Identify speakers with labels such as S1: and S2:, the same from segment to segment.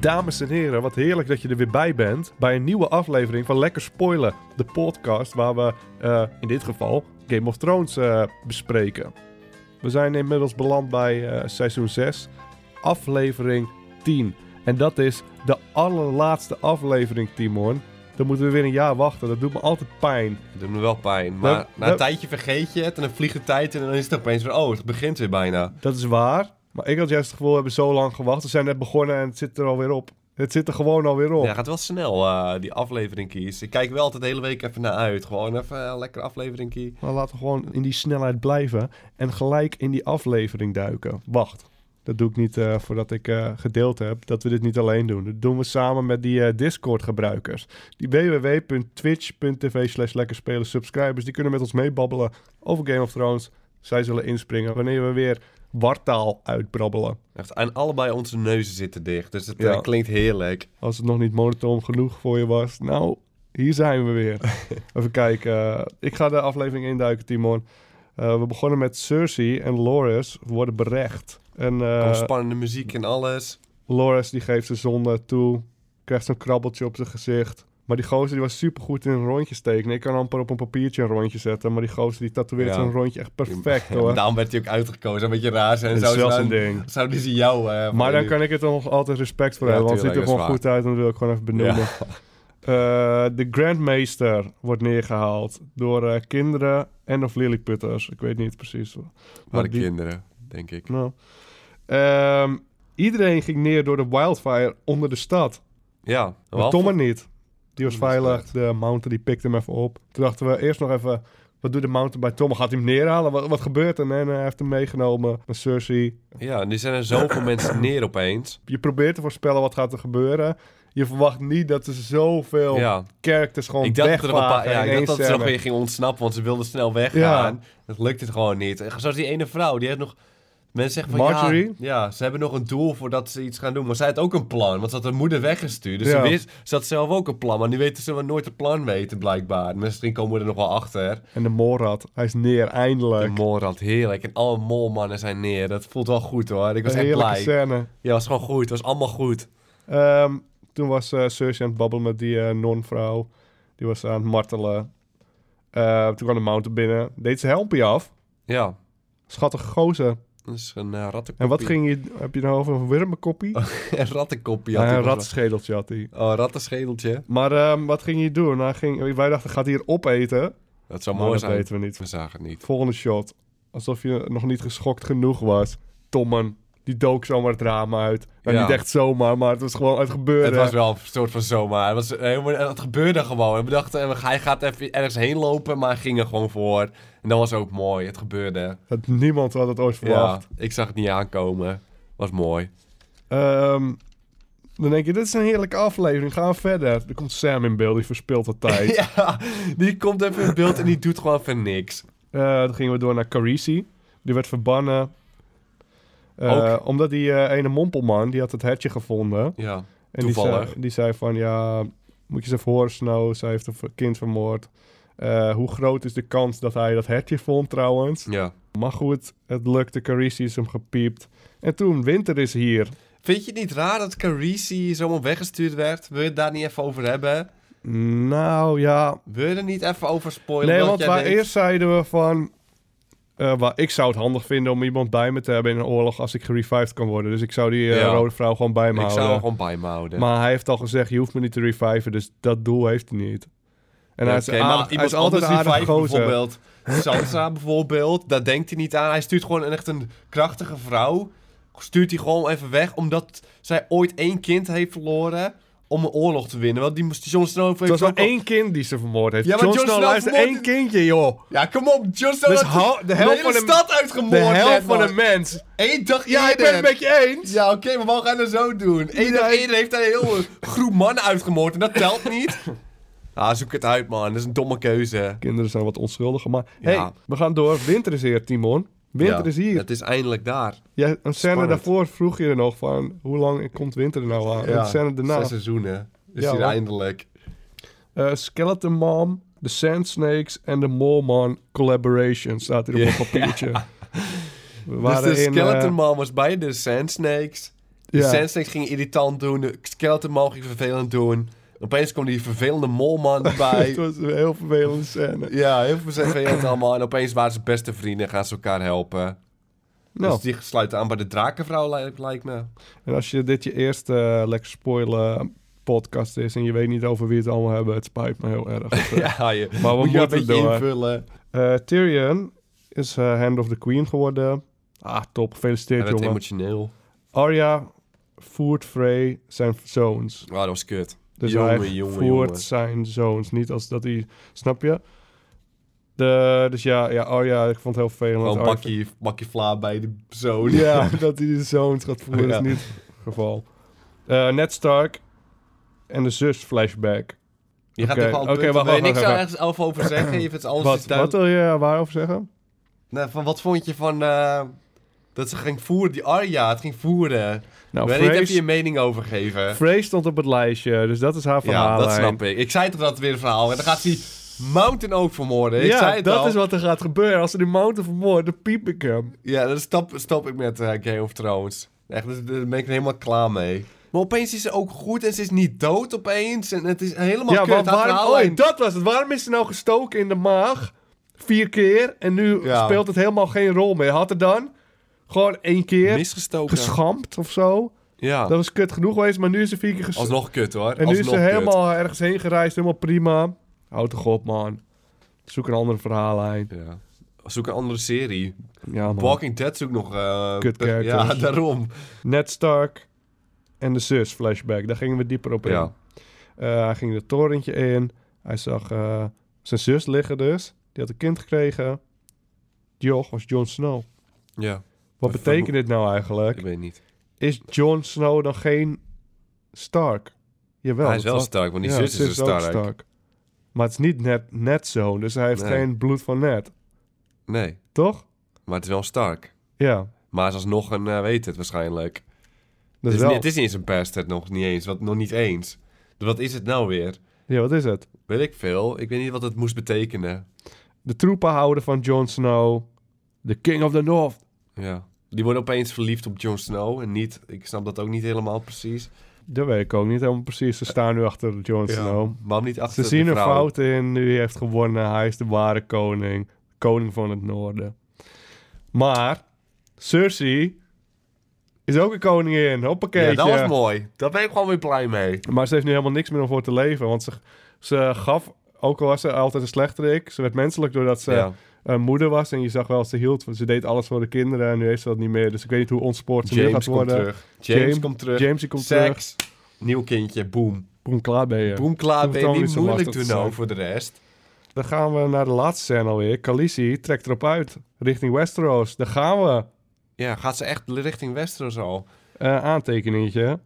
S1: Dames en heren, wat heerlijk dat je er weer bij bent bij een nieuwe aflevering van Lekker Spoilen, de podcast waar we eh, in dit geval Game of Thrones eh, bespreken. We zijn inmiddels beland bij eh, seizoen 6, aflevering 10. En dat is de allerlaatste aflevering, Timon. Dan moeten we weer een jaar wachten, dat doet me altijd pijn.
S2: Het doet me wel pijn. Maar
S1: Nou,
S2: na een
S1: nou-
S2: tijdje vergeet je het en dan vliegt de tijd en dan is het opeens weer... Oh, het begint weer bijna.
S1: Dat is waar, maar ik had juist het gevoel, we hebben zo lang gewacht. We zijn net begonnen en het zit er alweer op. Het zit er gewoon alweer op.
S2: Ja, gaat wel snel, eh, die aflevering kies. Ik kijk wel altijd de hele week even naar uit. Gewoon even een lekker aflevering kie.
S1: Maar laten we gewoon in die snelheid blijven en gelijk in die aflevering duiken. Wacht, dat doe ik niet eh, voordat ik eh, gedeeld heb dat we dit niet alleen doen. Dat doen we samen met die eh, Discord-gebruikers. Die www.twitch.tv slash lekkerspelen subscribers, die kunnen met ons meebabbelen over Game of Thrones. Zij zullen inspringen wanneer we weer wartaal uitbrabbelen.
S2: Echt, en allebei onze neuzen zitten dicht. Dus het eh,
S1: Ja.
S2: klinkt heerlijk.
S1: Als het nog niet monotoon genoeg voor je was, nou, hier zijn we weer. Even kijken. eh, ik ga de aflevering induiken, Timon. Eh, we begonnen met Cersei en Loras worden berecht. En eh,
S2: Gewoon spannende muziek en alles.
S1: Loras die geeft zijn zonde toe, krijgt zo'n krabbeltje op zijn gezicht. Maar die gozer die was supergoed in rondjes tekenen. Ik kan amper op een papiertje een rondje zetten, maar die gozer die tatoeëert
S2: Ja.
S1: zo'n rondje echt perfect
S2: En
S1: hoor.
S2: daarom werd hij ook uitgekozen. Een beetje raar zijn.
S1: Dat is
S2: Zou
S1: wel
S2: ze
S1: zijn
S2: dan-
S1: ding.
S2: Zouden ze jou... eh,
S1: Maar dan
S2: voor-
S1: kan ik het er nog altijd respect voor
S2: Ja,
S1: hebben, want het ziet er
S2: tuurlijk,
S1: gewoon
S2: dat
S1: goed uit
S2: is
S1: en dat wil ik gewoon even benoemen.
S2: Ja.
S1: Eh, de Grandmeester wordt neergehaald door eh, kinderen en of lilliputters. Ik weet niet precies.
S2: Maar de
S1: die-
S2: kinderen, denk ik.
S1: Nou. Ehm, iedereen ging neer door de wildfire onder de stad.
S2: Ja.
S1: Maar
S2: wel-
S1: Tom er niet. Die was
S2: Dat is
S1: veilig. De mountain die pikte hem even op. Toen dachten we eerst nog even... Wat doet de mountain bij Tom? Gaat hij hem neerhalen? Wat, wat gebeurt er? En hij heeft hem meegenomen naar Cersei.
S2: Ja, en nu zijn er zoveel mensen neer opeens.
S1: Je probeert te voorspellen wat gaat er gebeuren. Je verwacht niet dat er zoveel
S2: Ja.
S1: characters gewoon
S2: Ik dacht, dat er nog een
S1: wegvagen.
S2: paar, ja,
S1: in
S2: ik dacht
S1: één
S2: dat ze
S1: scène.
S2: nog weer ging ontsnappen, want ze wilden snel weggaan. Dat lukt het gewoon niet. En Zoals die ene vrouw, die heeft nog... Mensen zeggen van,
S1: Marjorie?
S2: Ja, ja, ze hebben nog een doel voordat ze iets gaan doen. Maar zij had ook een plan, want ze had haar moeder weggestuurd. Dus
S1: Ja.
S2: ze, wist, ze had zelf ook een plan, maar nu weten ze maar nooit het plan weten, blijkbaar. Misschien komen we er nog wel achter.
S1: En de Morad, hij is neer,
S2: De
S1: eindelijk.
S2: Morad, heerlijk. En alle molmannen zijn neer. Dat voelt wel goed, hoor. Ik was
S1: Een
S2: echt
S1: heerlijke
S2: blij.
S1: scène.
S2: Ja, was gewoon goed. Het was allemaal goed.
S1: Ehm, toen was eh Cersei aan het babbelen met die eh, non-vrouw. Die was aan het martelen. Eh, toen kwam de mountain binnen. Deed ze helmpje af.
S2: Ja,
S1: Schattig gozer.
S2: dat is een uh, rattenkoppie.
S1: En wat ging je... Heb je nou over een wurmenkoppie?
S2: een rattenkoppie.
S1: Ja,
S2: Oh, had hij
S1: een
S2: nog-
S1: ratschedeltje had hij.
S2: Oh, een rattenschedeltje.
S1: Maar ehm, wat ging je doen? Hij ging, wij dachten, gaat hij hier opeten?
S2: Dat zou
S1: Maar
S2: mooi
S1: Nou, dat
S2: zijn.
S1: weten we niet.
S2: We zagen het niet.
S1: Volgende shot. Alsof je nog niet geschokt genoeg was. Tommen, die dook zomaar het raam uit. Nou,
S2: Ja.
S1: niet echt zomaar, maar het was gewoon... Het gebeurde.
S2: Het was wel een soort van zomaar. Het, was helemaal, het gebeurde gewoon. We dachten, eh, hij gaat even ergens heen lopen, maar hij ging er gewoon voor. En dat was ook mooi. Het gebeurde.
S1: Dat niemand had het ooit
S2: Ja,
S1: verwacht.
S2: ik zag het niet aankomen. Was mooi.
S1: Ehm, dan denk je, dit is een heerlijke aflevering. Gaan we verder. Dan komt Sam in beeld, die verspilt de tijd.
S2: Ja, die komt even in beeld en die doet gewoon even niks.
S1: Eh, dan gingen we door naar Carisi. Die werd verbannen. Eh, omdat die eh, ene mompelman, die had het hertje gevonden.
S2: Ja,
S1: En Die
S2: Toevallig.
S1: zei, die zei van, ja, moet je eens even horen, Snow. Zij heeft een v- kind vermoord. Eh, hoe groot is de kans dat hij dat hertje vond trouwens?
S2: ja.
S1: Maar goed, het lukte. Carisi is hem gepiept. En toen, winter is hier.
S2: Vind je het niet raar dat Carisi zomaar weggestuurd werd? Wil je het daar niet even over hebben?
S1: Nou ja,
S2: Wil je er niet even over spoilen?
S1: Nee,
S2: wat
S1: want
S2: jij
S1: waar
S2: denkt?
S1: eerst zeiden we van... eh, waar, ik zou het handig vinden om iemand bij me te hebben in een oorlog als ik gerevived kan worden. Dus ik zou die eh,
S2: Ja.
S1: rode vrouw gewoon bij me
S2: Ik
S1: houden.
S2: zou hem gewoon bij me houden.
S1: Maar hij heeft al gezegd, je hoeft me niet te reviven, dus dat doel heeft hij niet. En hij, is
S2: Oké,
S1: aardig-
S2: maar
S1: hij is altijd een
S2: anders die
S1: aardige
S2: vijf
S1: gozer.
S2: Bijvoorbeeld Sansa bijvoorbeeld, daar denkt hij niet aan. Hij stuurt gewoon een- echt een krachtige vrouw. Stuurt hij gewoon even weg, omdat zij ooit één kind heeft verloren om een oorlog te winnen. Want die moest Jon Snow heeft
S1: Het was
S2: ook
S1: maar
S2: al-
S1: één kind die ze vermoord heeft.
S2: Ja, maar
S1: Jon
S2: Jon
S1: Snow
S2: Snow
S1: luister, één
S2: vermoord-
S1: kindje, joh.
S2: Ja, kom op, Jon Snow
S1: Dus
S2: heeft
S1: hou- de
S2: de
S1: helft
S2: hele
S1: van de-
S2: stad
S1: De
S2: uitgemoord.
S1: helft van
S2: Redman.
S1: een mens.
S2: Eén dag
S1: Ja, ik ben
S2: eerder.
S1: het met je eens.
S2: Ja, oké, maar waarom gaan we zo doen? Eén dag
S1: Nee.
S2: eerder heeft hij een hele groep mannen uitgemoord en dat telt niet. Ah, zoek het uit, man. Dat is een domme keuze.
S1: Kinderen zijn wat onschuldiger, maar...
S2: Ja.
S1: hey, we gaan door. Winter is hier, Timon. Winter
S2: Ja,
S1: is hier.
S2: Het is eindelijk daar.
S1: Ja, een scène
S2: Spannend.
S1: daarvoor vroeg je er nog van hoe lang komt winter er nou aan? En een scène daarna.
S2: Zes seizoenen. Is
S1: Ja,
S2: hier
S1: hoor.
S2: eindelijk.
S1: Eh, Skeleton Mom, The Sand Snakes en de Mormon Collaboration staat hier op een papiertje. We
S2: Dus de
S1: in, eh,
S2: Skeleton Man was bij de Sand Snakes. De
S1: Ja.
S2: Sandsteaks ging irritant doen. De Skeleton ging vervelend doen. Opeens kwam die vervelende molman
S1: Het
S2: erbij.
S1: was een heel vervelende scène.
S2: ja, heel veel vervelend allemaal. En opeens waren ze beste vrienden en gaan ze elkaar helpen.
S1: Nou,
S2: Dus die sluiten aan bij de drakenvrouw, lijkt, lijkt me.
S1: en als je dit je eerste eh, lekker spoilen podcast is en je weet niet over wie het allemaal hebben, het spijt me heel erg. Dat, eh,
S2: Ja, je,
S1: Maar we
S2: moet je een
S1: moeten
S2: beetje
S1: door.
S2: invullen.
S1: eh, Tyrion is eh, Hand of the Queen geworden. Ah, top.
S2: Hij
S1: Gefeliciteerd,
S2: werd
S1: jongen.
S2: emotioneel.
S1: Arya voert Frey zijn zoons.
S2: Ah, dat was kut.
S1: Dus
S2: Jongen,
S1: hij
S2: jongen,
S1: voert
S2: jongen.
S1: zijn zoons. Niet als dat hij... Snap je? De, dus ja, ja, oh ja, ik vond het heel vervelend.
S2: Gewoon een
S1: Arya-
S2: bakje, bakje vla bij de persoon.
S1: Ja, dat hij de zoons gaat voeren
S2: Ja.
S1: is niet het geval. Eh, Ned Stark en de zus flashback.
S2: Je gaat
S1: Oké,
S2: toch al
S1: oké,
S2: punten.
S1: wacht,
S2: Wil je
S1: wacht,
S2: niks
S1: wacht,
S2: daar ergens over over zeggen? Je vindt alles
S1: Wat,
S2: is duidelijk-
S1: wat wil je waarover zeggen?
S2: Nou, van, wat vond je van eh, dat ze ging voeren, die Arya, het ging voeren?
S1: Nou,
S2: Weet niet, heb je je
S1: Frey
S2: mening over geven?
S1: Frey stond op het lijstje, dus dat is haar
S2: Ja,
S1: verhaal.
S2: dat snap ik. Ik zei toch dat het weer een verhaal. En dan gaat die Mountain ook vermoorden. Ik zei het
S1: dat
S2: al.
S1: is wat er gaat gebeuren. Als ze die mountain vermoorden, dan piep ik hem.
S2: Ja, dan stop, stop ik met eh, Game of Thrones. Echt, daar daar ben ik er helemaal klaar mee. Maar opeens is ze ook goed en ze is niet dood opeens. En het is helemaal
S1: ja,
S2: kut.
S1: want
S2: Haar
S1: waarom,
S2: verhaallijn-
S1: oh, dat was het. Waarom is ze nou gestoken in de maag? Vier keer. En nu
S2: Ja.
S1: speelt het helemaal geen rol meer. Had er dan gewoon één keer
S2: misgestoken.
S1: geschampt of zo.
S2: Ja,
S1: Dat was kut genoeg geweest, maar nu is ze vier keer gestoken.
S2: alsnog kut hoor.
S1: En nu is
S2: Alsnog
S1: ze
S2: kut.
S1: helemaal ergens heen gereisd, helemaal prima. Houd toch op, man. Zoek een andere verhaallijn.
S2: Ja. Zoek een andere serie.
S1: Ja, man.
S2: Walking Dead zoekt nog... eh,
S1: Kut
S2: per- Ja,
S1: characters.
S2: daarom.
S1: Ned Stark en de zus, flashback. Daar gingen we dieper op in.
S2: Ja.
S1: Eh, hij ging het torentje in. Hij zag eh, zijn zus liggen dus. Die had een kind gekregen. Joch was Jon Snow.
S2: Ja,
S1: Wat
S2: Vermo-
S1: betekent dit nou eigenlijk?
S2: ik weet niet.
S1: Is Jon Snow dan geen Stark? Jawel.
S2: hij is
S1: dat
S2: wel
S1: was-
S2: sterk, want die
S1: Ja,
S2: zus is
S1: zus
S2: een
S1: ook
S2: sterk.
S1: Maar het is niet net, net zoon, dus hij heeft
S2: Nee.
S1: geen bloed van net.
S2: Nee,
S1: Toch?
S2: maar het is wel sterk.
S1: Ja.
S2: Maar hij is alsnog een, eh, weet het waarschijnlijk.
S1: Dat
S2: het,
S1: is
S2: is,
S1: wel.
S2: niet- het is niet eens een bastard, nog niet eens. Wat, nog niet eens. Dus wat is het nou weer?
S1: Ja, wat is het?
S2: Weet ik veel. Ik weet niet wat het moest betekenen.
S1: De troepenhouder van Jon Snow. De King of the North.
S2: Ja. Die worden opeens verliefd op Jon Snow. En niet, ik snap dat ook niet helemaal precies.
S1: Dat weet ik ook niet helemaal precies. Ze staan nu achter Jon Snow.
S2: Waarom niet achter
S1: Ze
S2: de
S1: zien er
S2: vrouw?
S1: fout in. Nu heeft gewonnen. Hij is de ware koning. Koning van het noorden. Maar Cersei is ook een koningin. Hoppakeetje.
S2: Ja, dat was mooi. Daar ben ik gewoon weer blij mee.
S1: Maar ze heeft nu helemaal niks meer om voor te leven. Want ze, ze gaf, ook al was ze altijd een slechterik, ze werd menselijk doordat ze
S2: Ja.
S1: een moeder was. En je zag wel, ze hield, ze deed alles voor de kinderen en nu heeft ze dat niet meer. Dus ik weet niet hoe ontspoord ze nu gaat
S2: James komt
S1: worden.
S2: terug. James,
S1: James-
S2: komt terug.
S1: James die komt terug.
S2: Seks. Nieuw kindje. Boom.
S1: Boem, klaar ben je.
S2: Boom, klaar.
S1: Hoeft
S2: Ben
S1: dan
S2: je
S1: niet
S2: niet
S1: zo
S2: moeilijk
S1: lastig
S2: doen
S1: te
S2: nou
S1: zijn.
S2: voor de rest.
S1: Dan gaan we naar de laatste scène alweer. Khaleesi trekt erop uit, richting Westeros. Daar gaan we.
S2: Ja, gaat ze echt richting Westeros al?
S1: Eh, aantekeningetje.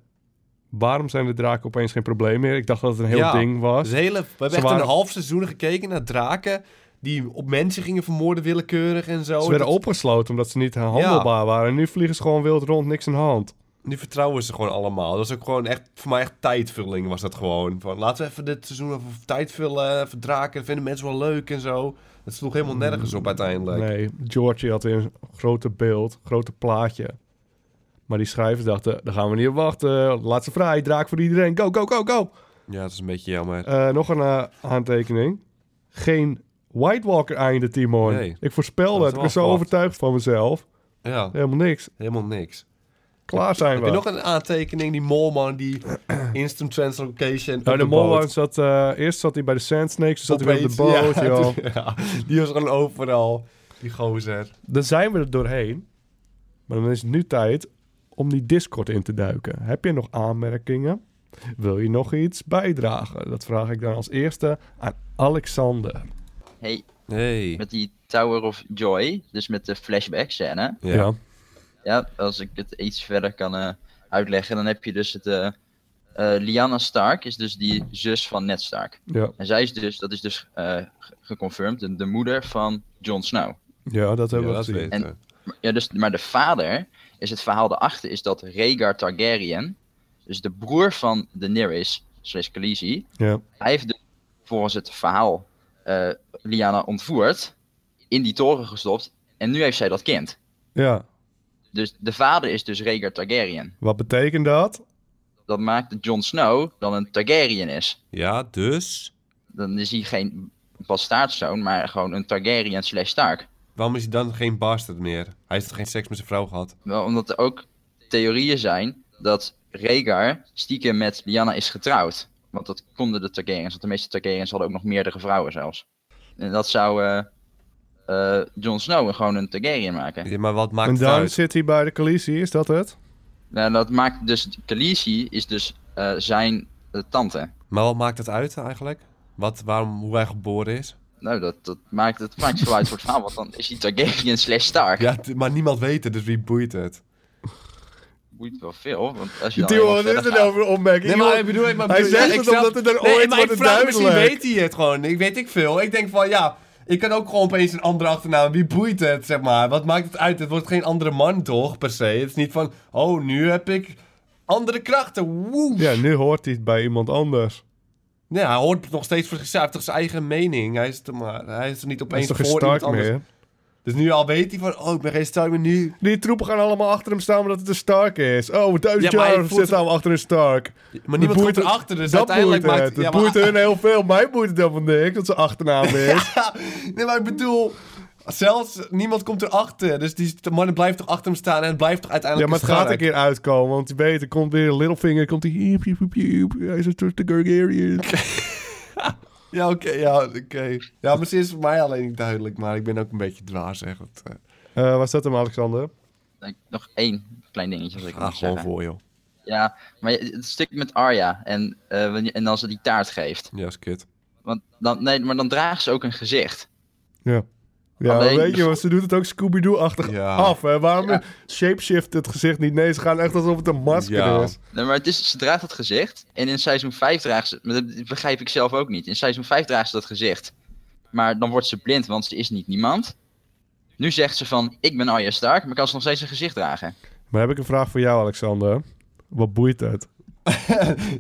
S1: Waarom zijn de draken opeens geen probleem meer? Ik dacht dat het een heel
S2: Ja.
S1: ding was.
S2: Dus hele, we hebben
S1: Ze
S2: echt
S1: waren-
S2: een half seizoen gekeken naar draken... die op mensen gingen vermoorden willekeurig en zo.
S1: Ze werden
S2: Dat-
S1: opgesloten omdat ze niet handelbaar waren. En nu vliegen ze gewoon wild rond, niks in de hand.
S2: Nu vertrouwen ze gewoon allemaal. Dat is ook gewoon echt, voor mij echt tijdvulling was dat gewoon. Van, laten we even dit seizoen even tijd vullen, even draken, vinden mensen wel leuk en zo. Het sloeg helemaal nergens op uiteindelijk.
S1: Nee, Georgie had weer een grote beeld, grote plaatje. Maar die schrijvers dachten, daar gaan we niet op wachten. Laat ze vrij, draak voor iedereen. Go, go, go, go.
S2: Ja, dat is een beetje jammer.
S1: Eh, nog een eh, aantekening. Geen White Walker einde, Timon.
S2: Nee.
S1: Ik voorspelde
S2: Dat
S1: het.
S2: is
S1: Ik
S2: wel
S1: was zo
S2: verwacht.
S1: overtuigd van mezelf.
S2: Ja,
S1: Helemaal niks.
S2: helemaal niks.
S1: Klaar zijn
S2: Heb
S1: we.
S2: je nog een aantekening? Die molman, die instant translocation op
S1: Nou, de
S2: boot.
S1: Molwan zat... eh, eerst zat hij bij de Sand Snakes, toen zat hij weer op de boot,
S2: Opeens, ja,
S1: joh.
S2: ja, die was gewoon overal, die gozer.
S1: Dan zijn we er doorheen. Maar dan is het nu tijd om die Discord in te duiken. Heb je nog aanmerkingen? Wil je nog iets bijdragen? Dat vraag ik dan als eerste aan Alexander.
S3: Hey,
S2: Hey.
S3: met die Tower of Joy, dus met de flashback scène.
S2: Ja.
S3: Ja, als ik het iets verder kan eh, uitleggen, dan heb je dus het. eh, eh, Lyanna Stark is dus die zus van Ned Stark.
S1: ja,
S3: En zij is dus, dat is dus eh, ge- geconfirmed, de, de moeder van Jon Snow.
S1: ja, dat hebben
S2: Ja,
S1: we
S2: dat
S1: gezien.
S2: weten we.
S3: Maar- Ja, dus, maar de vader is het verhaal daarachter, is dat Rhaegar Targaryen, dus de broer van Daenerys, slash Khaleesi,
S1: Ja.
S3: hij heeft dus volgens het verhaal eh Lyanna ontvoerd, in die toren gestopt, en nu heeft zij dat kind.
S1: ja,
S3: Dus de vader is dus Rhaegar Targaryen.
S1: Wat betekent dat?
S3: Dat maakt dat Jon Snow dan een Targaryen is.
S2: Ja, dus.
S3: Dan is hij geen bastaardzoon, maar gewoon een Targaryen slash Stark.
S2: Waarom is hij dan geen bastard meer? Hij heeft toch geen seks met zijn vrouw gehad?
S3: Wel, omdat er ook theorieën zijn dat Rhaegar stiekem met Lyanna is getrouwd. Want dat konden de Targaryens, want de meeste Targaryens hadden ook nog meerdere vrouwen zelfs. En dat zou eh eh, Jon Snow gewoon een Targaryen maken.
S2: Ja, maar wat maakt
S1: en
S2: het
S1: dan
S2: uit?
S1: zit hij bij de Khaleesi, is dat het?
S3: Nou, dat maakt dus... Khaleesi is dus eh, zijn eh, tante.
S2: Maar wat maakt het uit eigenlijk? Wat, waarom, hoe hij geboren is?
S3: Nou, dat, dat maakt, dat maakt veel uit voor het verhaal, want dan is hij Targaryen slash Stark.
S2: Ja, t- maar niemand weet het, dus wie boeit het?
S3: Boeit wel veel, want als je dan helemaal verder gaat-
S1: opmerking?
S2: bedoel, ik maar
S1: Hij bedoel- zegt het omdat het er ooit wordt
S2: Misschien
S1: duidelijk.
S2: dus weet hij het gewoon, ik weet ik veel. Ik denk van, ja, ik kan ook gewoon opeens een andere achternaam. Wie boeit het, zeg maar? Wat maakt het uit? Het wordt geen andere man toch, per se? Het is niet van, oh, nu heb ik andere krachten, woe.
S1: Ja, nu hoort hij het bij iemand anders.
S2: Ja, hij hoort nog steeds voor zichzelf. Hij heeft toch zijn eigen mening. Hij is er, maar, hij is er niet
S1: Hij is
S2: opeens
S1: toch
S2: voor
S1: geen
S2: iemand
S1: Stark
S2: anders.
S1: meer?
S2: Dus nu al weet hij van, oh, ik ben geen Stark meer nu.
S1: Die troepen gaan allemaal achter hem staan omdat het een Stark is. Oh, duizend
S2: Ja, maar hij
S1: jaar
S2: voelt
S1: zitten we achter een Stark.
S2: Maar niemand
S1: boeit
S2: komt
S1: het-
S2: erachter, dus
S1: dat
S2: uiteindelijk
S1: boeit
S2: maakt...
S1: het.
S2: ja,
S1: het
S2: maar-
S1: boeit hun heel veel. Mij boeit het helemaal niks dat ze achternaam is.
S2: Nee, maar ik bedoel... Zelfs niemand komt erachter. Dus die de man blijft toch achter hem staan en het blijft toch
S1: ja,
S2: uiteindelijk
S1: maar het
S2: een
S1: gaat een
S2: Stark.
S1: keer uitkomen. Want je weet, er komt weer Littlefinger. Komt hij... hiep, hiep, hiep, hiep, Hij is een soort de Gargarian.
S2: Ja, oké. ja, oké. ja, misschien is het voor mij alleen niet duidelijk, maar ik ben ook een beetje dwaas, zeg. Het, eh,
S1: Eh, waar staat hem, Alexander?
S3: Denk ik Nog één klein dingetje, als ik
S2: ga
S3: mag
S2: ah, gewoon
S3: zeggen.
S2: voor, joh.
S3: Ja, maar het stuk met Arya en, eh, wanneer- en als ze die taart geeft.
S2: Ja, is kut.
S3: Want dan, nee, maar dan draagt ze ook een gezicht.
S1: Ja. Ja,
S3: Alleen-
S1: weet je, want ze doet het ook Scooby-Doo-achtig
S2: Ja.
S1: af. Hè? Waarom
S3: Ja.
S1: shapeshift het gezicht niet? Nee, ze gaan echt alsof het een masker
S2: Ja.
S1: is.
S3: Nee, maar het is, ze draagt dat gezicht. En in seizoen 5 draagt ze. Maar dat begrijp ik zelf ook niet. In seizoen 5 draagt ze dat gezicht. Maar dan wordt ze blind, want ze is niet niemand. Nu zegt ze van: Ik ben Arya Stark, maar kan ze nog steeds een gezicht dragen.
S1: Maar heb ik een vraag voor jou, Alexander. Wat boeit het?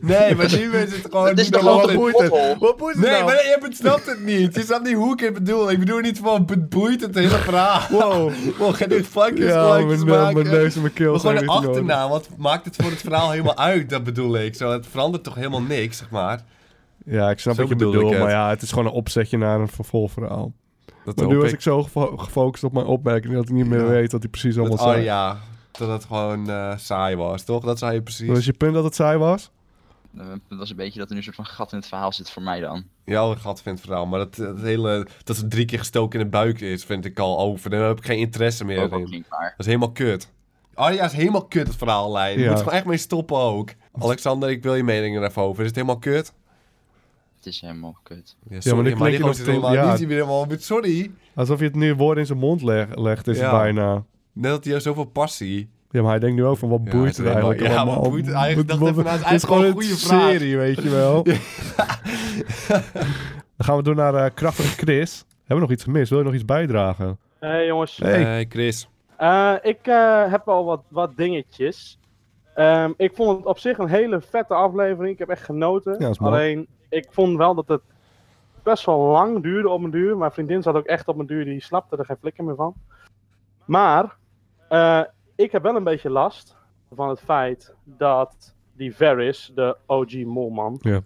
S2: Nee, maar nu is het gewoon...
S3: Het is
S2: niet
S3: toch
S2: normaal.
S3: altijd-
S1: Wat boeit het? Wat boeit het
S2: Nee,
S1: nou?
S2: maar je hebt- snapt het niet. Je snapt niet hoe ik het bedoel. Ik bedoel niet van, het boeit het hele verhaal.
S1: Wow.
S2: Wow, ga dit fucking
S1: Ja, mijn,
S2: slank
S1: mijn
S2: maken.
S1: neus en mijn keel
S2: Maar
S1: zijn
S2: gewoon de
S1: weer te nodig.
S2: achternaam, wat maakt het voor het verhaal helemaal uit? Dat bedoel ik. Zo, het verandert toch helemaal niks, zeg maar.
S1: Ja, ik snap
S2: Zo
S1: wat je
S2: bedoel ik
S1: bedoelt,
S2: het.
S1: maar ja, het is gewoon een opzetje naar een vervolgverhaal.
S2: Dat
S1: Maar nu was ik zo gevo- gefocust op mijn opmerking dat ik niet meer
S2: Ja.
S1: weet wat hij precies allemaal
S2: Dat oh
S1: zei.
S2: Arya, dat het gewoon eh, saai was, toch? Dat zei je
S1: Dat
S2: precies.
S1: is je punt dat het saai was?
S3: Eh, Dat was een beetje dat er nu een soort van gat in het verhaal zit voor mij dan.
S2: Ja, een gat vindt het verhaal. Maar dat, dat hele, dat ze drie keer gestoken in de buik is, vind ik al over. Daar heb ik geen interesse meer
S3: Ook al
S2: in.
S3: klinkt maar.
S2: Dat is helemaal kut. Arya is helemaal kut, het verhaallijn. Je
S1: Ja.
S2: moet er gewoon echt mee stoppen ook. Alexander, ik wil je mening er even over. Is het helemaal kut?
S3: Het is helemaal kut.
S2: Ja,
S1: maar nu
S2: sorry, maar
S1: knik je
S2: die gozer
S1: nog
S2: is
S1: toe-
S2: helemaal...
S1: ja.
S2: die is hier weer helemaal... Sorry.
S1: Alsof je het nu woord in zijn mond leg- legt, is
S2: Ja.
S1: het bijna.
S2: Net had hij al zoveel passie.
S1: Ja, maar hij denkt nu ook van wat
S2: Ja,
S1: boeit
S2: het
S1: het
S2: is helemaal-
S1: eigenlijk
S2: ja,
S1: allemaal?
S2: wat boeit het eigenlijk? Ik dacht even, nou, het is
S1: het is gewoon een
S2: eigenlijk wel een goede vraag.
S1: serie, weet je wel. Dan gaan we door naar eh, krachtige Chris. Hebben we nog iets gemist? Wil je nog iets bijdragen?
S4: Hey jongens,
S1: Hey.
S2: Hey, Chris.
S4: Eh, ik eh, heb al wat, wat dingetjes. Ehm, ik vond het op zich een hele vette aflevering. Ik heb echt genoten.
S1: Ja, dat is mooi.
S4: Alleen, ik vond wel dat het best wel lang duurde op een duur. Mijn vriendin zat ook echt op een duur, die snapte er geen flikker meer van. Maar, eh, ik heb wel een beetje last van het feit dat die Varys, de OG molman,
S1: Ja.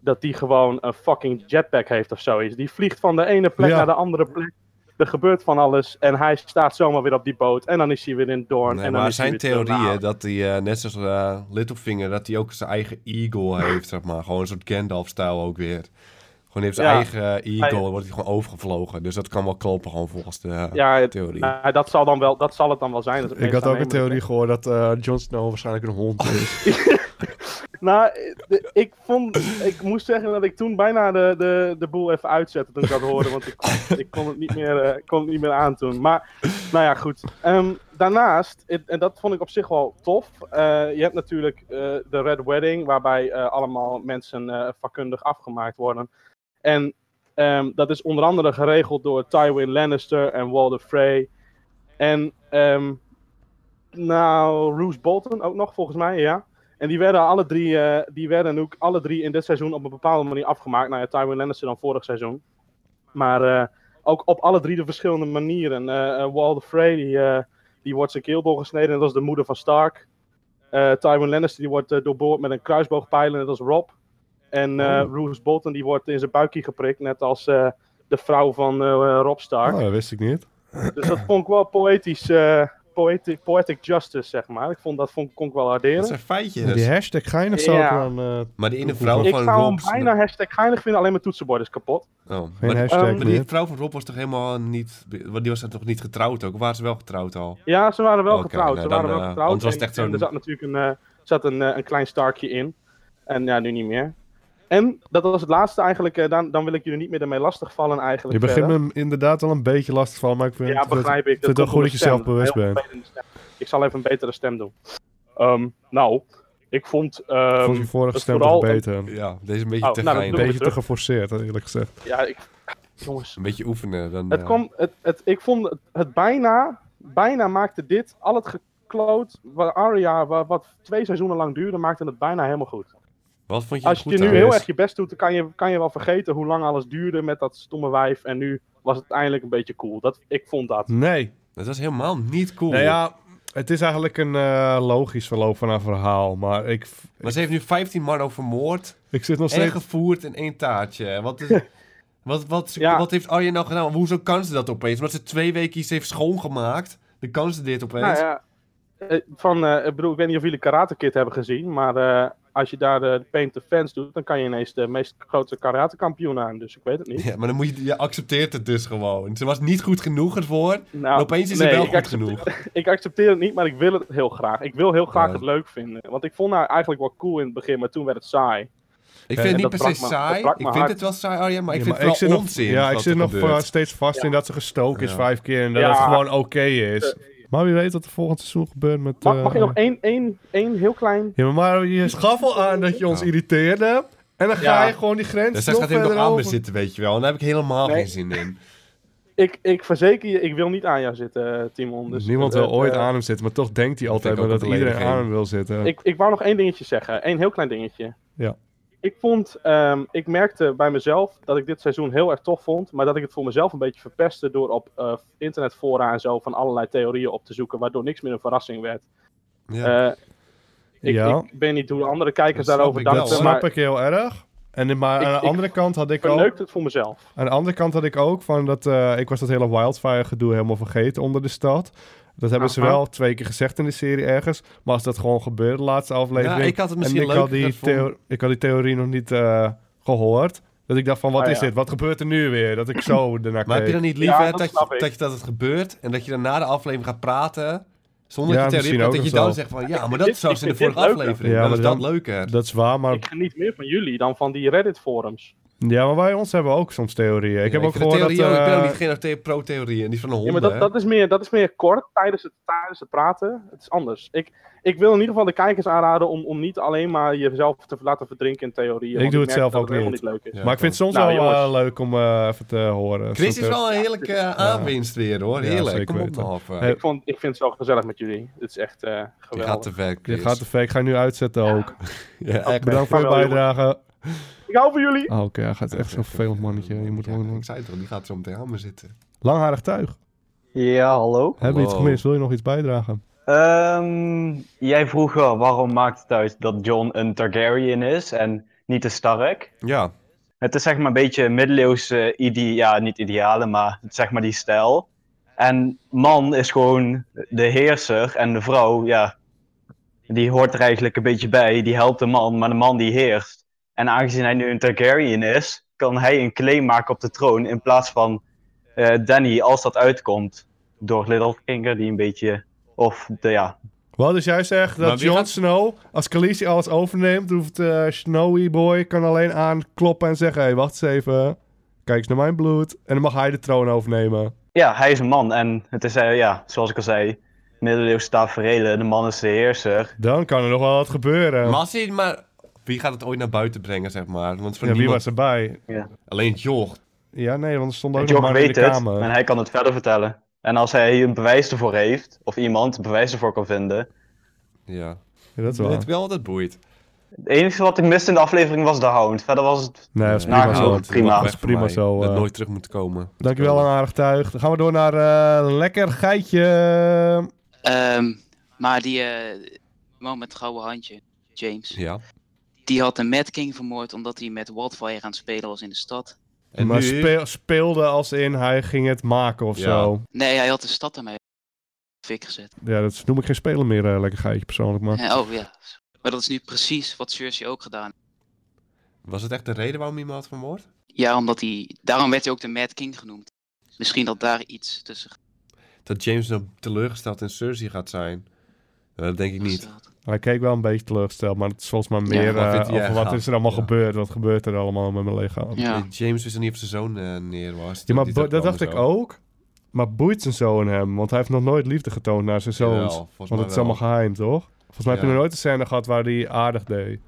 S4: dat die gewoon een fucking jetpack heeft of zoiets. Die vliegt van de ene plek
S1: Ja.
S4: naar de andere plek. Er gebeurt van alles en hij staat zomaar weer op die boot en dan is hij weer in Doorn.
S2: Nee,
S4: en dan
S2: maar er
S4: is hij
S2: zijn
S4: weer terug naar
S2: theorieën
S4: huis.
S2: dat hij, eh, net zoals eh, Littlefinger, dat hij ook zijn eigen eagle heeft, zeg maar. Gewoon een soort Gandalf-stijl ook weer. Gewoon heeft zijn
S4: Ja.
S2: eigen eh, eagle
S4: Hij-
S2: en wordt hij gewoon overgevlogen. Dus dat kan wel kloppen gewoon volgens de eh,
S4: Ja, het-
S2: theorie.
S4: nou, dat, zal dan wel, dat zal het dan wel zijn. Dat het
S1: Ik had
S4: meestal
S1: ook een
S4: nemen.
S1: theorie gehoord dat eh Jon Snow waarschijnlijk een hond is.
S4: Nou, de- ik, vond, ik moest zeggen dat ik toen bijna de, de, de boel even uitzette toen ik dat hoorde. Want ik, ik kon, het niet meer, eh, ik kon het niet meer aandoen. Maar, nou ja, goed. Ehm, daarnaast, het- en dat vond ik op zich wel tof. eh, je hebt natuurlijk eh, de Red Wedding, waarbij eh, allemaal mensen eh, vakkundig afgemaakt worden. En ehm, dat is onder andere geregeld door Tywin Lannister en Walder Frey. En, ehm, nou, Roose Bolton ook nog, volgens mij, ja. En die werden, alle drie, eh, die werden ook alle drie in dit seizoen op een bepaalde manier afgemaakt. Nou ja, Tywin Lannister dan vorig seizoen. Maar eh, ook op alle drie de verschillende manieren. eh eh, Walder Frey die, eh, die wordt zijn keel doorgesneden, net als de moeder van Stark. Eh, Tywin Lannister, die wordt eh, doorboord met een kruisboogpijl, net als Rob. En eh Roose Bolton, die wordt in zijn buikje geprikt, net als eh, de vrouw van eh, Rob Stark.
S1: Oh, dat wist ik niet.
S4: Dus dat vond ik wel poëtisch, eh, poetic, poetic justice, zeg maar. Ik vond dat vond, kon ik wel waarderen.
S2: Dat zijn feitjes.
S1: Die hashtag geinig zou ik
S4: Ja.
S1: dan... eh,
S2: Maar die ene vrouw
S4: Ik
S2: van
S4: zou hem
S2: Rob...
S4: bijna hashtag geinig vinden, alleen mijn toetsenbord is kapot.
S2: Oh,
S1: geen
S2: maar,
S1: hashtag
S4: ehm,
S2: maar die
S1: meer.
S2: vrouw van Rob was toch helemaal niet... want Die was toch niet getrouwd ook? Of waren ze wel getrouwd al?
S4: Ja, ze waren wel
S2: Oké,
S4: getrouwd.
S2: nou,
S4: ze
S2: dan,
S4: waren wel
S2: eh,
S4: getrouwd.
S2: anders was
S4: en-
S2: het echt
S4: en
S2: zo'n-
S4: er zat natuurlijk een, eh, zat een, eh, een klein starkje in. En ja, nu niet meer. En dat was het laatste eigenlijk. eh, dan, dan wil ik jullie niet meer ermee lastigvallen eigenlijk.
S1: Je begint
S4: verder.
S1: me inderdaad al een beetje lastig van, maar ik vind
S4: Ja,
S1: het-
S4: begrijp ik.
S1: Ik vind het wel goed
S4: komt
S1: dat
S4: door
S1: je
S4: mijn
S1: zelfbewust
S4: stem. Heel
S1: bent.
S4: vervelende stem. Ik zal even een betere stem doen. Ehm, nou, ik vond... ehm,
S1: Vond je vorige
S4: dat
S1: stem
S4: vooral
S1: toch
S4: een-
S1: beter? Een
S2: Ja, deze is een beetje
S4: Oh,
S2: te
S4: nou, dat
S2: geheim.
S4: doe ik.
S1: beetje te
S4: terug.
S1: geforceerd, eerlijk gezegd.
S4: ja, ik... Jongens,
S2: Een beetje oefenen. Dan,
S4: Het
S2: eh,
S4: kwam, het, het, ik vond het, het bijna, bijna maakte dit, al het gekloot, waar Aria, wa- wat twee seizoenen lang duurde, maakte het bijna helemaal goed.
S2: Wat vond je
S4: Als
S2: goed
S4: je nu
S2: aan?
S4: heel
S1: is.
S4: erg je best doet, dan kan je, kan je wel vergeten hoe lang alles duurde met dat stomme wijf. En nu was het eindelijk een beetje cool. Dat, ik vond dat.
S1: Nee.
S2: Dat was helemaal niet cool.
S1: Nou ja, het is eigenlijk een eh, logisch verloop van haar verhaal, maar ik,
S2: Maar ze heeft nu 15 man vermoord
S1: ik zit nog
S2: en
S1: steeds...
S2: gevoerd in één taartje. Wat, is, wat, wat,
S4: Ja.
S2: wat heeft Arjen nou gedaan? Hoezo kan ze dat opeens? Omdat ze twee weken iets heeft schoongemaakt, dan kan ze dit opeens.
S4: Nou ja, eh, van, eh, ik bedoel, ik weet niet of jullie Karate Kid hebben gezien, maar eh, als je daar de Paint the Fans doet, dan kan je ineens de meest grote karatekampioen aan. Dus ik weet het niet.
S2: Ja, maar dan moet je, je accepteert het dus gewoon. Ze was niet goed genoeg ervoor.
S4: Nou,
S2: en opeens is
S4: nee,
S2: ze wel
S4: ik
S2: goed
S4: accepteer-
S2: genoeg.
S4: ik accepteer het niet, maar ik wil het heel graag. Ik wil heel graag
S2: Ja.
S4: het leuk vinden. Want ik vond haar eigenlijk wel cool in het begin, maar toen werd het saai.
S2: Ik
S1: Ja,
S2: vind het
S4: en
S2: niet
S4: dat
S2: per se
S4: brak me- dat
S2: saai.
S4: brak me
S2: Ik vind
S4: hard.
S2: het wel saai, Arjen, maar ik
S1: Ja,
S2: vind
S1: maar
S2: het wel
S1: zit nog-
S2: onzin.
S1: ja,
S2: wat
S1: ik zit
S2: er
S1: nog
S2: gebeurt.
S1: eh, steeds vast in dat ze gestoken is
S2: Ja.
S1: vijf keer en dat het
S4: Ja.
S1: gewoon oké is. Maar wie weet wat er volgend seizoen gebeurt met...
S4: Mag,
S1: eh,
S4: mag ik nog één, één, één heel klein...
S1: Ja, maar Mario, je gaf al aan dat je ons
S2: Ja.
S1: irriteerde. En dan ga
S4: Ja.
S1: je gewoon die grens
S2: Dus zij
S1: nog
S2: gaat helemaal
S1: verder
S2: aan me
S1: over.
S2: zitten, weet je wel. En daar heb ik helemaal
S4: Nee.
S2: geen zin in.
S4: Ik, ik verzeker je, ik wil niet aan jou zitten, Timon. Dus
S1: Niemand
S4: eh,
S1: wil ooit
S4: eh,
S1: aan hem zitten, maar toch denkt hij altijd
S2: vind ik
S1: maar
S2: ook
S1: dat
S2: een
S1: iedereen aan
S2: belediging.
S1: hem wil zitten.
S4: Ik, ik wou nog één dingetje zeggen. Eén heel klein dingetje.
S1: Ja.
S4: Ik vond, ehm, ik merkte bij mezelf dat ik dit seizoen heel erg tof vond, maar dat ik het voor mezelf een beetje verpestte door op eh, internetfora en zo van allerlei theorieën op te zoeken, waardoor niks meer een verrassing werd.
S2: Ja.
S4: Eh, ik,
S1: Ja.
S4: ik weet niet hoe de andere kijkers
S2: Dat snap
S4: daarover
S2: ik
S4: dachten,
S1: dat
S2: wel,
S1: snap
S4: maar
S1: ik heel erg. En, maar
S4: Ik-
S1: aan de
S4: ik
S1: andere kant had ik ook...
S4: verneukt het voor mezelf.
S1: Aan de andere kant had ik ook van dat... eh, ik was dat hele wildfire gedoe helemaal vergeten onder de stad. Dat hebben ze
S2: Ah,
S4: Aha.
S1: wel twee keer gezegd in de serie ergens. Maar als dat gewoon gebeurde, de laatste aflevering...
S2: Ja, ik had het
S1: en
S2: misschien
S1: ik had,
S2: leuk
S1: die theo- ik had die theorie nog niet eh, gehoord. Dat ik dacht van, wat
S4: Ah,
S1: is
S4: ja.
S1: dit? Wat gebeurt er nu weer? Dat ik zo ernaar
S2: Maar heb je
S1: keek.
S2: dan niet
S4: Ja,
S2: liever
S4: dat
S2: dat,
S4: snap
S2: je,
S4: ik.
S2: dat je dat het gebeurt en dat je dan na de aflevering gaat praten zonder
S1: Ja,
S2: dat je
S1: misschien
S2: theorie hebt,
S1: ook
S2: dat je
S1: nog
S2: dan
S1: wel.
S2: zegt van ja, maar
S4: Ik-
S2: dat
S4: ik
S2: was in de
S4: vind
S2: vorige
S4: dit leuker.
S2: aflevering,
S1: Ja,
S2: dan
S1: maar
S2: is dat
S1: dan-
S2: leuker.
S1: Dat is waar, maar
S4: Ik geniet meer van jullie dan van die Reddit-forums.
S1: Ja, maar wij ons hebben ook soms theorieën. Ik heb ook
S2: vind de
S1: gehoord dat...
S2: theorie ook- ik ben ook
S1: eh,
S2: niet geen the- pro-theorie en die is van een
S4: Ja,
S2: hond.
S4: maar dat, dat, is meer, dat is meer kort tijdens het, tijdens het praten. Het is anders. Ik, ik wil in ieder geval de kijkers aanraden om, om niet alleen maar jezelf te laten verdrinken in theorieën. want
S1: doe het
S4: merk
S1: zelf
S4: dat
S1: ook
S4: helemaal
S1: niet.
S4: niet leuk is.
S2: Ja.
S1: maar ik vind het soms
S4: Nou,
S1: wel eh,
S4: jongens.
S1: leuk om eh, even te horen.
S2: Chris
S1: Zo'n
S2: is wel een heerlijke eh, aanwinst weer hoor,
S1: Ja,
S2: heerlijk.
S1: zeker
S2: Kom op
S1: weten.
S2: nog. eh.
S1: Hey,
S4: Ik, vond, ik vind het zo gezellig met jullie. Het is echt eh,
S2: je
S4: geweldig.
S2: gaat te ver,
S1: theorie.
S2: Chris.
S1: Je gaat de fake, ga je nu uitzetten ook.
S2: Ja, echt.
S1: Bedankt voor je
S4: Ga wel,
S1: bijdrage.
S4: Ik hou van jullie!
S1: Oh, oké, hij gaat echt zo'n vervelend mannetje. Je moet
S2: Ja,
S1: gewoon...
S2: Ik zei het al, die gaat zo meteen aan me zitten.
S1: Langharig tuig.
S5: Ja, hallo.
S1: Heb je iets
S2: Wow.
S1: gemist? Wil je nog iets bijdragen?
S5: Ehm, jij vroeg eh, waarom maakt het uit dat John een Targaryen is en niet een Stark?
S2: Ja,
S5: Het is zeg maar een beetje middeleeuwse, ide- ja, niet idealen, maar zeg maar die stijl. En man is gewoon de heerser en de vrouw, ja, die hoort er eigenlijk een beetje bij. Die helpt de man, maar de man die heerst. En aangezien hij nu een Targaryen is, kan hij een claim maken op de troon in plaats van eh Danny als dat uitkomt. Door Littlefinger, die een beetje, of de, ja,
S1: Wat dus jij zegt
S2: Maar
S1: dat
S2: wie
S1: Jon
S2: gaat-
S1: Snow, als Khaleesi alles overneemt, hoeft eh, Snowy Boy kan alleen aankloppen en zeggen... Hé, hey, wacht eens even. Kijk eens naar mijn bloed. En dan mag hij de troon overnemen.
S5: Ja, hij is een man en het is, eh, ja, zoals ik al zei, middeleeuwse tafereelen, de man is de heerser.
S1: Dan kan er nog wel wat gebeuren.
S2: maar als hij maar... Wie gaat het ooit naar buiten brengen, zeg maar? Want van
S1: Ja, wie
S2: niemand-
S1: was erbij?
S2: Alleen Joch.
S1: Ja, nee, want er stond ook nog
S5: Jock
S1: maar in de
S5: weet het
S1: kamer.
S5: en hij kan het verder vertellen. En als hij een bewijs ervoor heeft, of iemand bewijs ervoor kan vinden.
S2: Ja.
S1: Ja, dat is
S2: Weet
S1: wel.
S2: wel dat boeit.
S5: Het enige wat ik miste in de aflevering was de hound. Verder was het...
S1: Nee, dat is
S5: Nou,
S1: prima
S5: ja,
S1: zo.
S5: goed. prima.
S2: Dat
S1: Dat is prima zo,
S2: Dat
S1: eh.
S2: nooit terug moet komen.
S1: Dankjewel, een aardig tuig. Dan gaan we door naar eh, Lekker Geitje.
S6: Ehm, maar die eh, man met het gouden handje, James,
S2: Ja.
S6: die had de Mad King vermoord omdat hij met Wildfire aan het spelen was in de stad.
S2: En
S1: maar
S2: nu-
S1: speel- speelde als in hij ging het maken of
S2: Ja.
S1: zo.
S6: Nee, hij had de stad ermee fik gezet.
S1: Ja, dat noem ik geen spelen meer, eh, lekker geitje persoonlijk. Maar
S6: Eh, oh ja. Maar dat is nu precies wat Cersei ook gedaan heeft.
S2: Was het echt de reden waarom iemand had vermoord?
S6: Ja, omdat hij. Daarom werd hij ook de Mad King genoemd. Misschien dat daar iets tussen
S2: Dat James dan teleurgesteld in Cersei gaat zijn? Nou, dat denk ik niet.
S6: gesteld.
S1: hij keek wel een beetje teleurgesteld. Maar het is volgens mij meer
S2: wat
S1: eh,
S2: vindt hij
S1: over wat
S2: ervan?
S1: is er allemaal
S2: Ja.
S1: gebeurd. Wat gebeurt er allemaal met mijn lichaam? Ja,
S6: Ja.
S2: Eh, James wist er niet of zijn zoon eh, neer was.
S1: maar
S2: Die
S1: bo- dat
S2: kwam
S1: dacht
S2: zo.
S1: ik ook. Maar boeit zijn zoon hem? Want hij heeft nog nooit liefde getoond naar zijn
S2: Jawel,
S1: zoons.
S2: volgens mij
S1: Want het is
S2: wel.
S1: allemaal geheim, toch? Volgens mij heb je
S2: Ja.
S1: nog nooit een scène gehad waar hij aardig deed.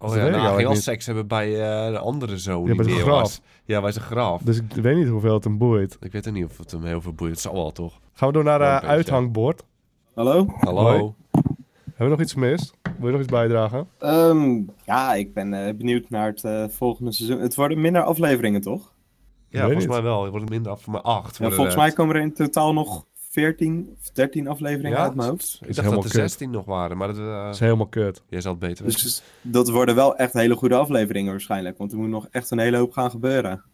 S2: Oh
S1: weet
S2: ja,
S1: ik
S2: nou, hij ging
S1: eigenlijk
S2: al
S1: niet.
S2: seks hebben bij eh, de andere zoon
S1: Ja,
S2: die
S1: bij zijn
S2: neer
S1: graf.
S2: was. Ja, bij zijn graf.
S1: Dus ik weet niet hoeveel het hem boeit.
S2: Ik weet er niet of het hem heel veel boeit. Het zal wel, toch?
S1: Gaan we door naar
S2: Ja, een
S1: het
S2: beetje.
S1: uithangbord.
S7: Hallo?
S2: Hallo?
S1: Hoi. Hebben we nog iets gemist? Wil je nog iets bijdragen?
S7: Ehm, ja, ik ben eh, benieuwd naar het eh, volgende seizoen. Het worden minder afleveringen, toch?
S2: Ja,
S1: Weet
S2: volgens
S1: niet.
S2: mij wel. Het wordt minder af voor mij acht.
S7: Ja, volgens mij komen er in totaal nog 14 of 13 afleveringen uit mijn hoofd.
S2: Ik
S1: Is
S2: dacht
S1: helemaal
S2: dat er
S1: kut.
S2: 16 nog waren, maar dat, eh,
S1: Dat is helemaal kut.
S2: jij zal het beter weten.
S7: Dus dat worden wel echt hele goede afleveringen waarschijnlijk. Want er moet nog echt een hele hoop gaan gebeuren.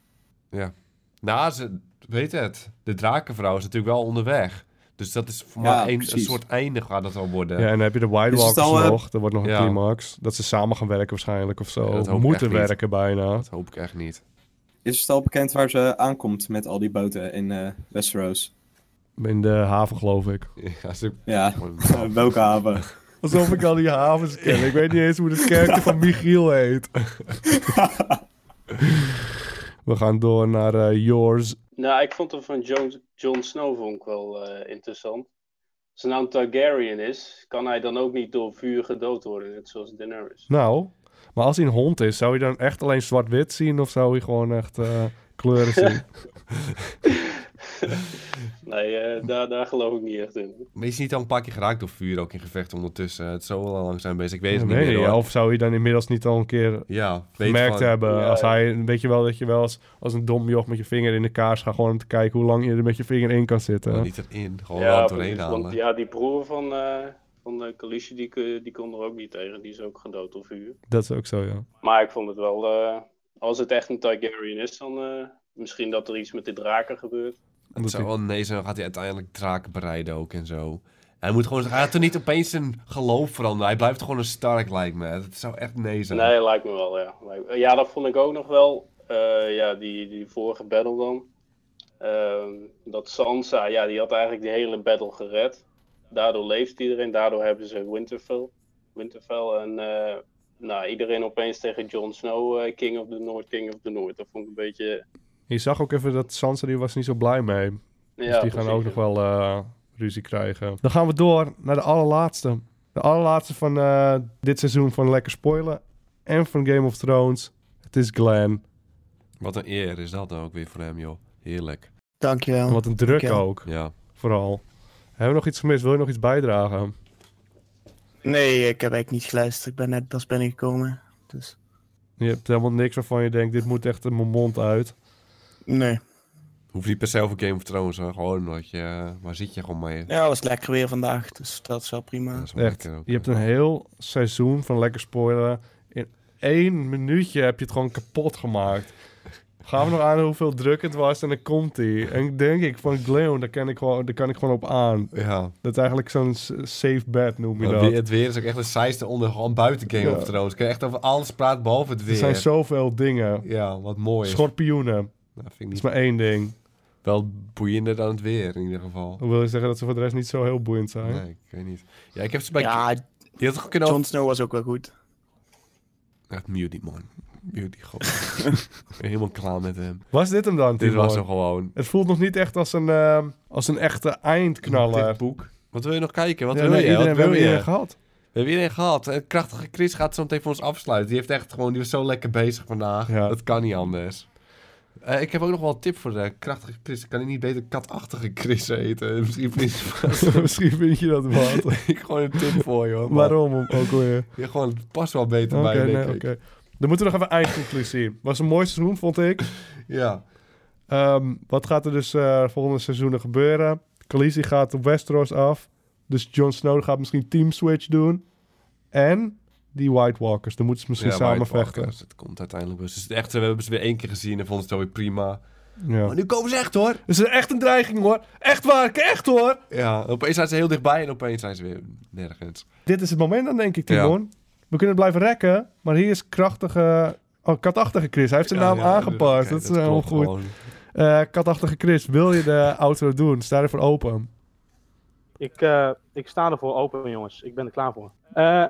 S2: Nou, ze weet het. De drakenvrouw is natuurlijk wel onderweg. Dus dat is voor
S7: Ja,
S2: mij een, een
S7: precies.
S2: soort einde gaat dat al worden.
S1: Ja, en dan heb je de White
S7: Is het
S1: Walkers
S7: al, eh,
S1: nog. Er wordt nog een
S2: Dus ja.
S1: climax. Dat ze samen gaan werken waarschijnlijk of
S2: Ja,
S1: zo.
S2: dat hoop ik
S1: Moeten
S2: echt niet.
S1: werken bijna.
S2: Dat hoop ik echt niet.
S7: Is het al bekend waar ze aankomt met al die boten in eh, Westeros?
S1: In de haven geloof ik.
S2: Ja, ze...
S7: Ja, eh, welke haven?
S1: Alsof ik al die havens ken. Ik weet niet eens hoe het kerkje van Michiel heet. We gaan door naar eh, Yours.
S8: Nou, ik vond hem van Jon Jon Snow vond ik wel eh, interessant. Als hij nou een Targaryen is, kan hij dan ook niet door vuur gedood worden, net zoals Daenerys.
S1: Nou, maar als hij een hond is, zou je dan echt alleen zwart-wit zien? Of zou hij gewoon echt eh, kleuren zien?
S8: Nee, eh, daar, daar geloof ik niet echt in.
S2: Maar is hij niet al een paar keer geraakt door vuur, ook in gevechten ondertussen? Het is zo al lang zijn bezig. Ik weet het
S1: Nee,
S2: niet meer, hoor.
S1: of zou je dan inmiddels niet al een keer
S2: Ja, weet
S1: gemerkt
S2: van-
S1: hebben.
S8: Ja,
S1: als
S8: ja.
S1: hij, weet je wel, dat je wel als, als een dom joch met je vinger in de kaars gaat, gewoon om te kijken hoe lang je er met je vinger in kan zitten.
S8: Oh,
S2: Maar niet erin, gewoon
S8: ja,
S2: wel
S8: precies,
S2: doorheen
S8: want
S2: halen.
S8: ja, die broer van, eh van eh, Khaleesi, die, kun- die kon er ook niet tegen. Die is ook gedood door vuur.
S1: Dat is ook zo, ja.
S8: Maar ik vond het wel, eh, als het echt een Targaryen is, dan eh, misschien dat er iets met de draken gebeurt.
S2: Het zou wel nee zijn, dan gaat hij uiteindelijk draken bereiden ook en zo. Hij moet gewoon, hij gaat toch niet opeens zijn geloof veranderen. Hij blijft gewoon een Stark, lijkt me. Het zou echt nee zijn.
S8: Nee, lijkt me wel, ja. Lijkt- Ja, dat vond ik ook nog wel. eh, ja, die, die vorige battle dan. Ehm, dat Sansa, ja, die had eigenlijk die hele battle gered. Daardoor leeft iedereen, daardoor hebben ze Winterfell. Winterfell en eh, nou, iedereen opeens tegen Jon Snow, eh, King of the North, King of the North. Dat vond ik een beetje...
S1: Je zag ook even dat Sansa, die was niet zo blij mee.
S8: Ja,
S1: dus die
S8: precies,
S1: gaan ook
S8: ja.
S1: nog wel eh, ruzie krijgen. Dan gaan we door naar de allerlaatste. De allerlaatste van eh, dit seizoen van Lekker Spoilen en van Game of Thrones. Het is Glenn.
S2: Wat een eer is dat dan ook weer voor hem, joh. Heerlijk.
S9: Dankjewel.
S1: Wat een druk
S9: Oké.
S1: ook,
S2: Ja.
S1: vooral. Hebben we nog iets gemist? Wil je nog iets bijdragen?
S9: Nee, ik heb eigenlijk niet geluisterd. Ik ben net pas binnengekomen. Dus
S1: Je hebt helemaal niks waarvan je denkt, dit moet echt in mijn mond uit.
S9: nee.
S2: Hoeft niet per se over Game of Thrones, hoor. Gewoon wat je... eh, Waar zit je gewoon mee?
S9: Ja, het was lekker weer vandaag, dus dat is wel prima.
S2: Dat is wel
S1: Echt,
S2: lekker ook,
S1: je hebt
S2: hè.
S1: een heel seizoen van lekker spoileren. In één minuutje heb je het gewoon kapot gemaakt. Gaan we nog aan hoeveel druk het was en dan komt hij. En dan denk ik van Gleon, daar kan ik gewoon, daar kan ik gewoon op aan.
S2: Ja.
S1: Dat is eigenlijk zo'n s- safe bet noem je
S2: Maar
S1: dat.
S2: weer- het weer is ook echt een saaiste onder, gewoon buiten Game
S1: Ja.
S2: of Thrones. Kan je echt over alles praten, behalve het weer.
S1: Er zijn zoveel dingen.
S2: Ja, wat mooi is.
S1: Schorpioenen,
S2: Nou, vind ik
S1: dat is
S2: niet
S1: maar één ding.
S2: wel boeiender dan het weer, in ieder geval.
S1: Dat wil je zeggen dat ze voor de rest niet zo heel boeiend zijn.
S2: Nee, ik weet niet. Ja, ik heb ze bij...
S9: Ja,
S2: Je had toch kunnen
S9: Jon Snow was ook wel goed.
S2: Echt mute die man. Mute die gewoon. ik ben helemaal klaar met hem.
S1: Was dit hem dan,
S2: Dit
S1: Timon?
S2: was hem gewoon.
S1: Het voelt nog niet echt als een, ehm, als een echte eindknaller.
S2: Dit boek. Wat wil je nog kijken? Wat
S1: Ja,
S2: wil
S1: nee,
S2: je?
S1: iedereen-
S2: Wat
S1: we
S2: wil
S1: hebben
S2: je?
S1: iedereen gehad.
S2: We hebben iedereen gehad. Een krachtige Chris gaat zo meteen voor ons afsluiten. Die heeft echt gewoon... Die was zo lekker bezig vandaag.
S1: Ja.
S2: Dat kan niet anders. Eh, ik heb ook nog wel een tip voor de krachtige Chris. Kan hij niet beter katachtige Chris eten? Misschien vind je
S1: Misschien vind je dat wat.
S2: Ik gewoon een tip voor je, hoor. Maar
S1: Waarom ook weer?
S2: je gewoon het past wel beter
S1: Oké,
S2: bij,
S1: nee,
S2: denk
S1: oké.
S2: ik.
S1: Dan moeten we nog even eindconclusie. Was een mooi seizoen, vond ik.
S2: Ja.
S1: Ehm, wat gaat er dus eh volgende seizoenen gebeuren? Khaleesi gaat op Westeros af. Dus Jon Snow gaat misschien Team Switch doen. En die White Walkers. Dan moeten ze misschien samen vechten.
S2: Het komt uiteindelijk wel. Dus het is echt, we hebben ze weer één keer gezien en vonden ze het alweer prima.
S1: Ja.
S2: Maar nu komen ze echt hoor.
S1: Het is echt een dreiging hoor. Echt waar, echt hoor.
S2: Ja, opeens zijn ze heel dichtbij en opeens zijn ze weer nergens.
S1: Dit is het moment dan, denk ik, Timon. We kunnen blijven rekken, maar hier is krachtige... Oh, katachtige Chris. Hij heeft zijn
S2: Ja,
S1: naam
S2: ja,
S1: aangepast.
S2: oké,
S1: dat is helemaal
S2: klopt
S1: goed.
S2: gewoon.
S1: Eh, katachtige Chris, wil je de auto doen? Sta ervoor open.
S4: Ik, eh, ik sta ervoor open, jongens. Ik ben er klaar voor. Eh,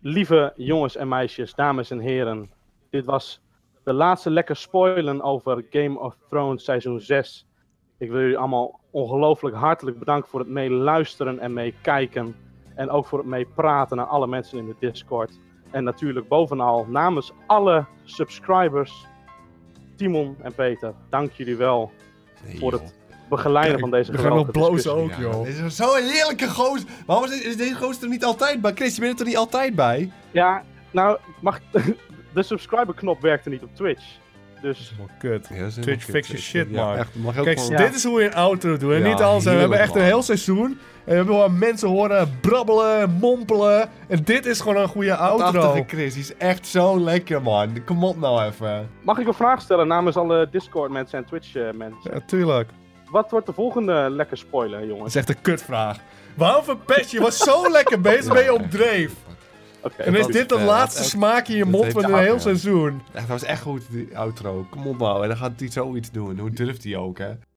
S4: lieve jongens en meisjes, dames en heren. Dit was de laatste lekker spoilen over Game of Thrones seizoen 6. Ik wil jullie allemaal ongelooflijk hartelijk bedanken voor het meeluisteren en meekijken. En ook voor het meepraten naar alle mensen in de Discord. En natuurlijk bovenal namens alle subscribers, Timon en Peter, dank jullie wel
S2: Nee,
S4: voor
S2: joh.
S4: het begeleiden van deze
S1: We gaan nog
S4: geweldige
S1: blozen
S4: discussie.
S1: ook, joh.
S2: Dit is zo'n heerlijke gozer. Waarom is, is deze gozer er niet altijd bij? Chris, je bent er toch niet altijd bij?
S4: Ja, nou, mag de subscriber knop werkte niet op Twitch. Dus
S1: Oh, kut.
S2: Ja, dat is helemaal
S1: Twitch,
S2: kut.
S1: fix your
S2: Ik-
S1: shit,
S2: ja,
S1: man.
S2: echt, mag ook
S1: Kijk,
S2: gewoon-
S1: dit is hoe je een outro doet. En
S2: Ja,
S1: niet anders. En we
S2: heerlijk,
S1: hebben echt een
S2: man.
S1: heel seizoen. En we hebben gewoon mensen horen brabbelen, mompelen. En dit is gewoon een goede outro.
S2: Prachtige Chris, die is echt zo lekker, man. Kom op nou even.
S4: mag ik een vraag stellen namens alle Discord mensen en Twitch eh, mensen?
S1: Ja, tuurlijk.
S4: Wat wordt de volgende lekker spoiler,
S1: Dat
S4: jongens?
S1: is echt een kutvraag. Waarom verpest je? Je was zo lekker bezig, ben je op dreef.
S4: Oké.
S1: En is
S2: dat
S1: dit
S2: is
S1: de
S2: vet.
S1: laatste
S2: Dat-
S1: smaak in je
S2: dat
S1: mond
S2: heeft
S1: van
S2: de
S1: een heel
S2: hak, ja.
S1: seizoen?
S2: Echt, dat was echt goed, die outro. Kom op nou. En dan gaat hij zoiets doen. Hoe durft hij ook, hè?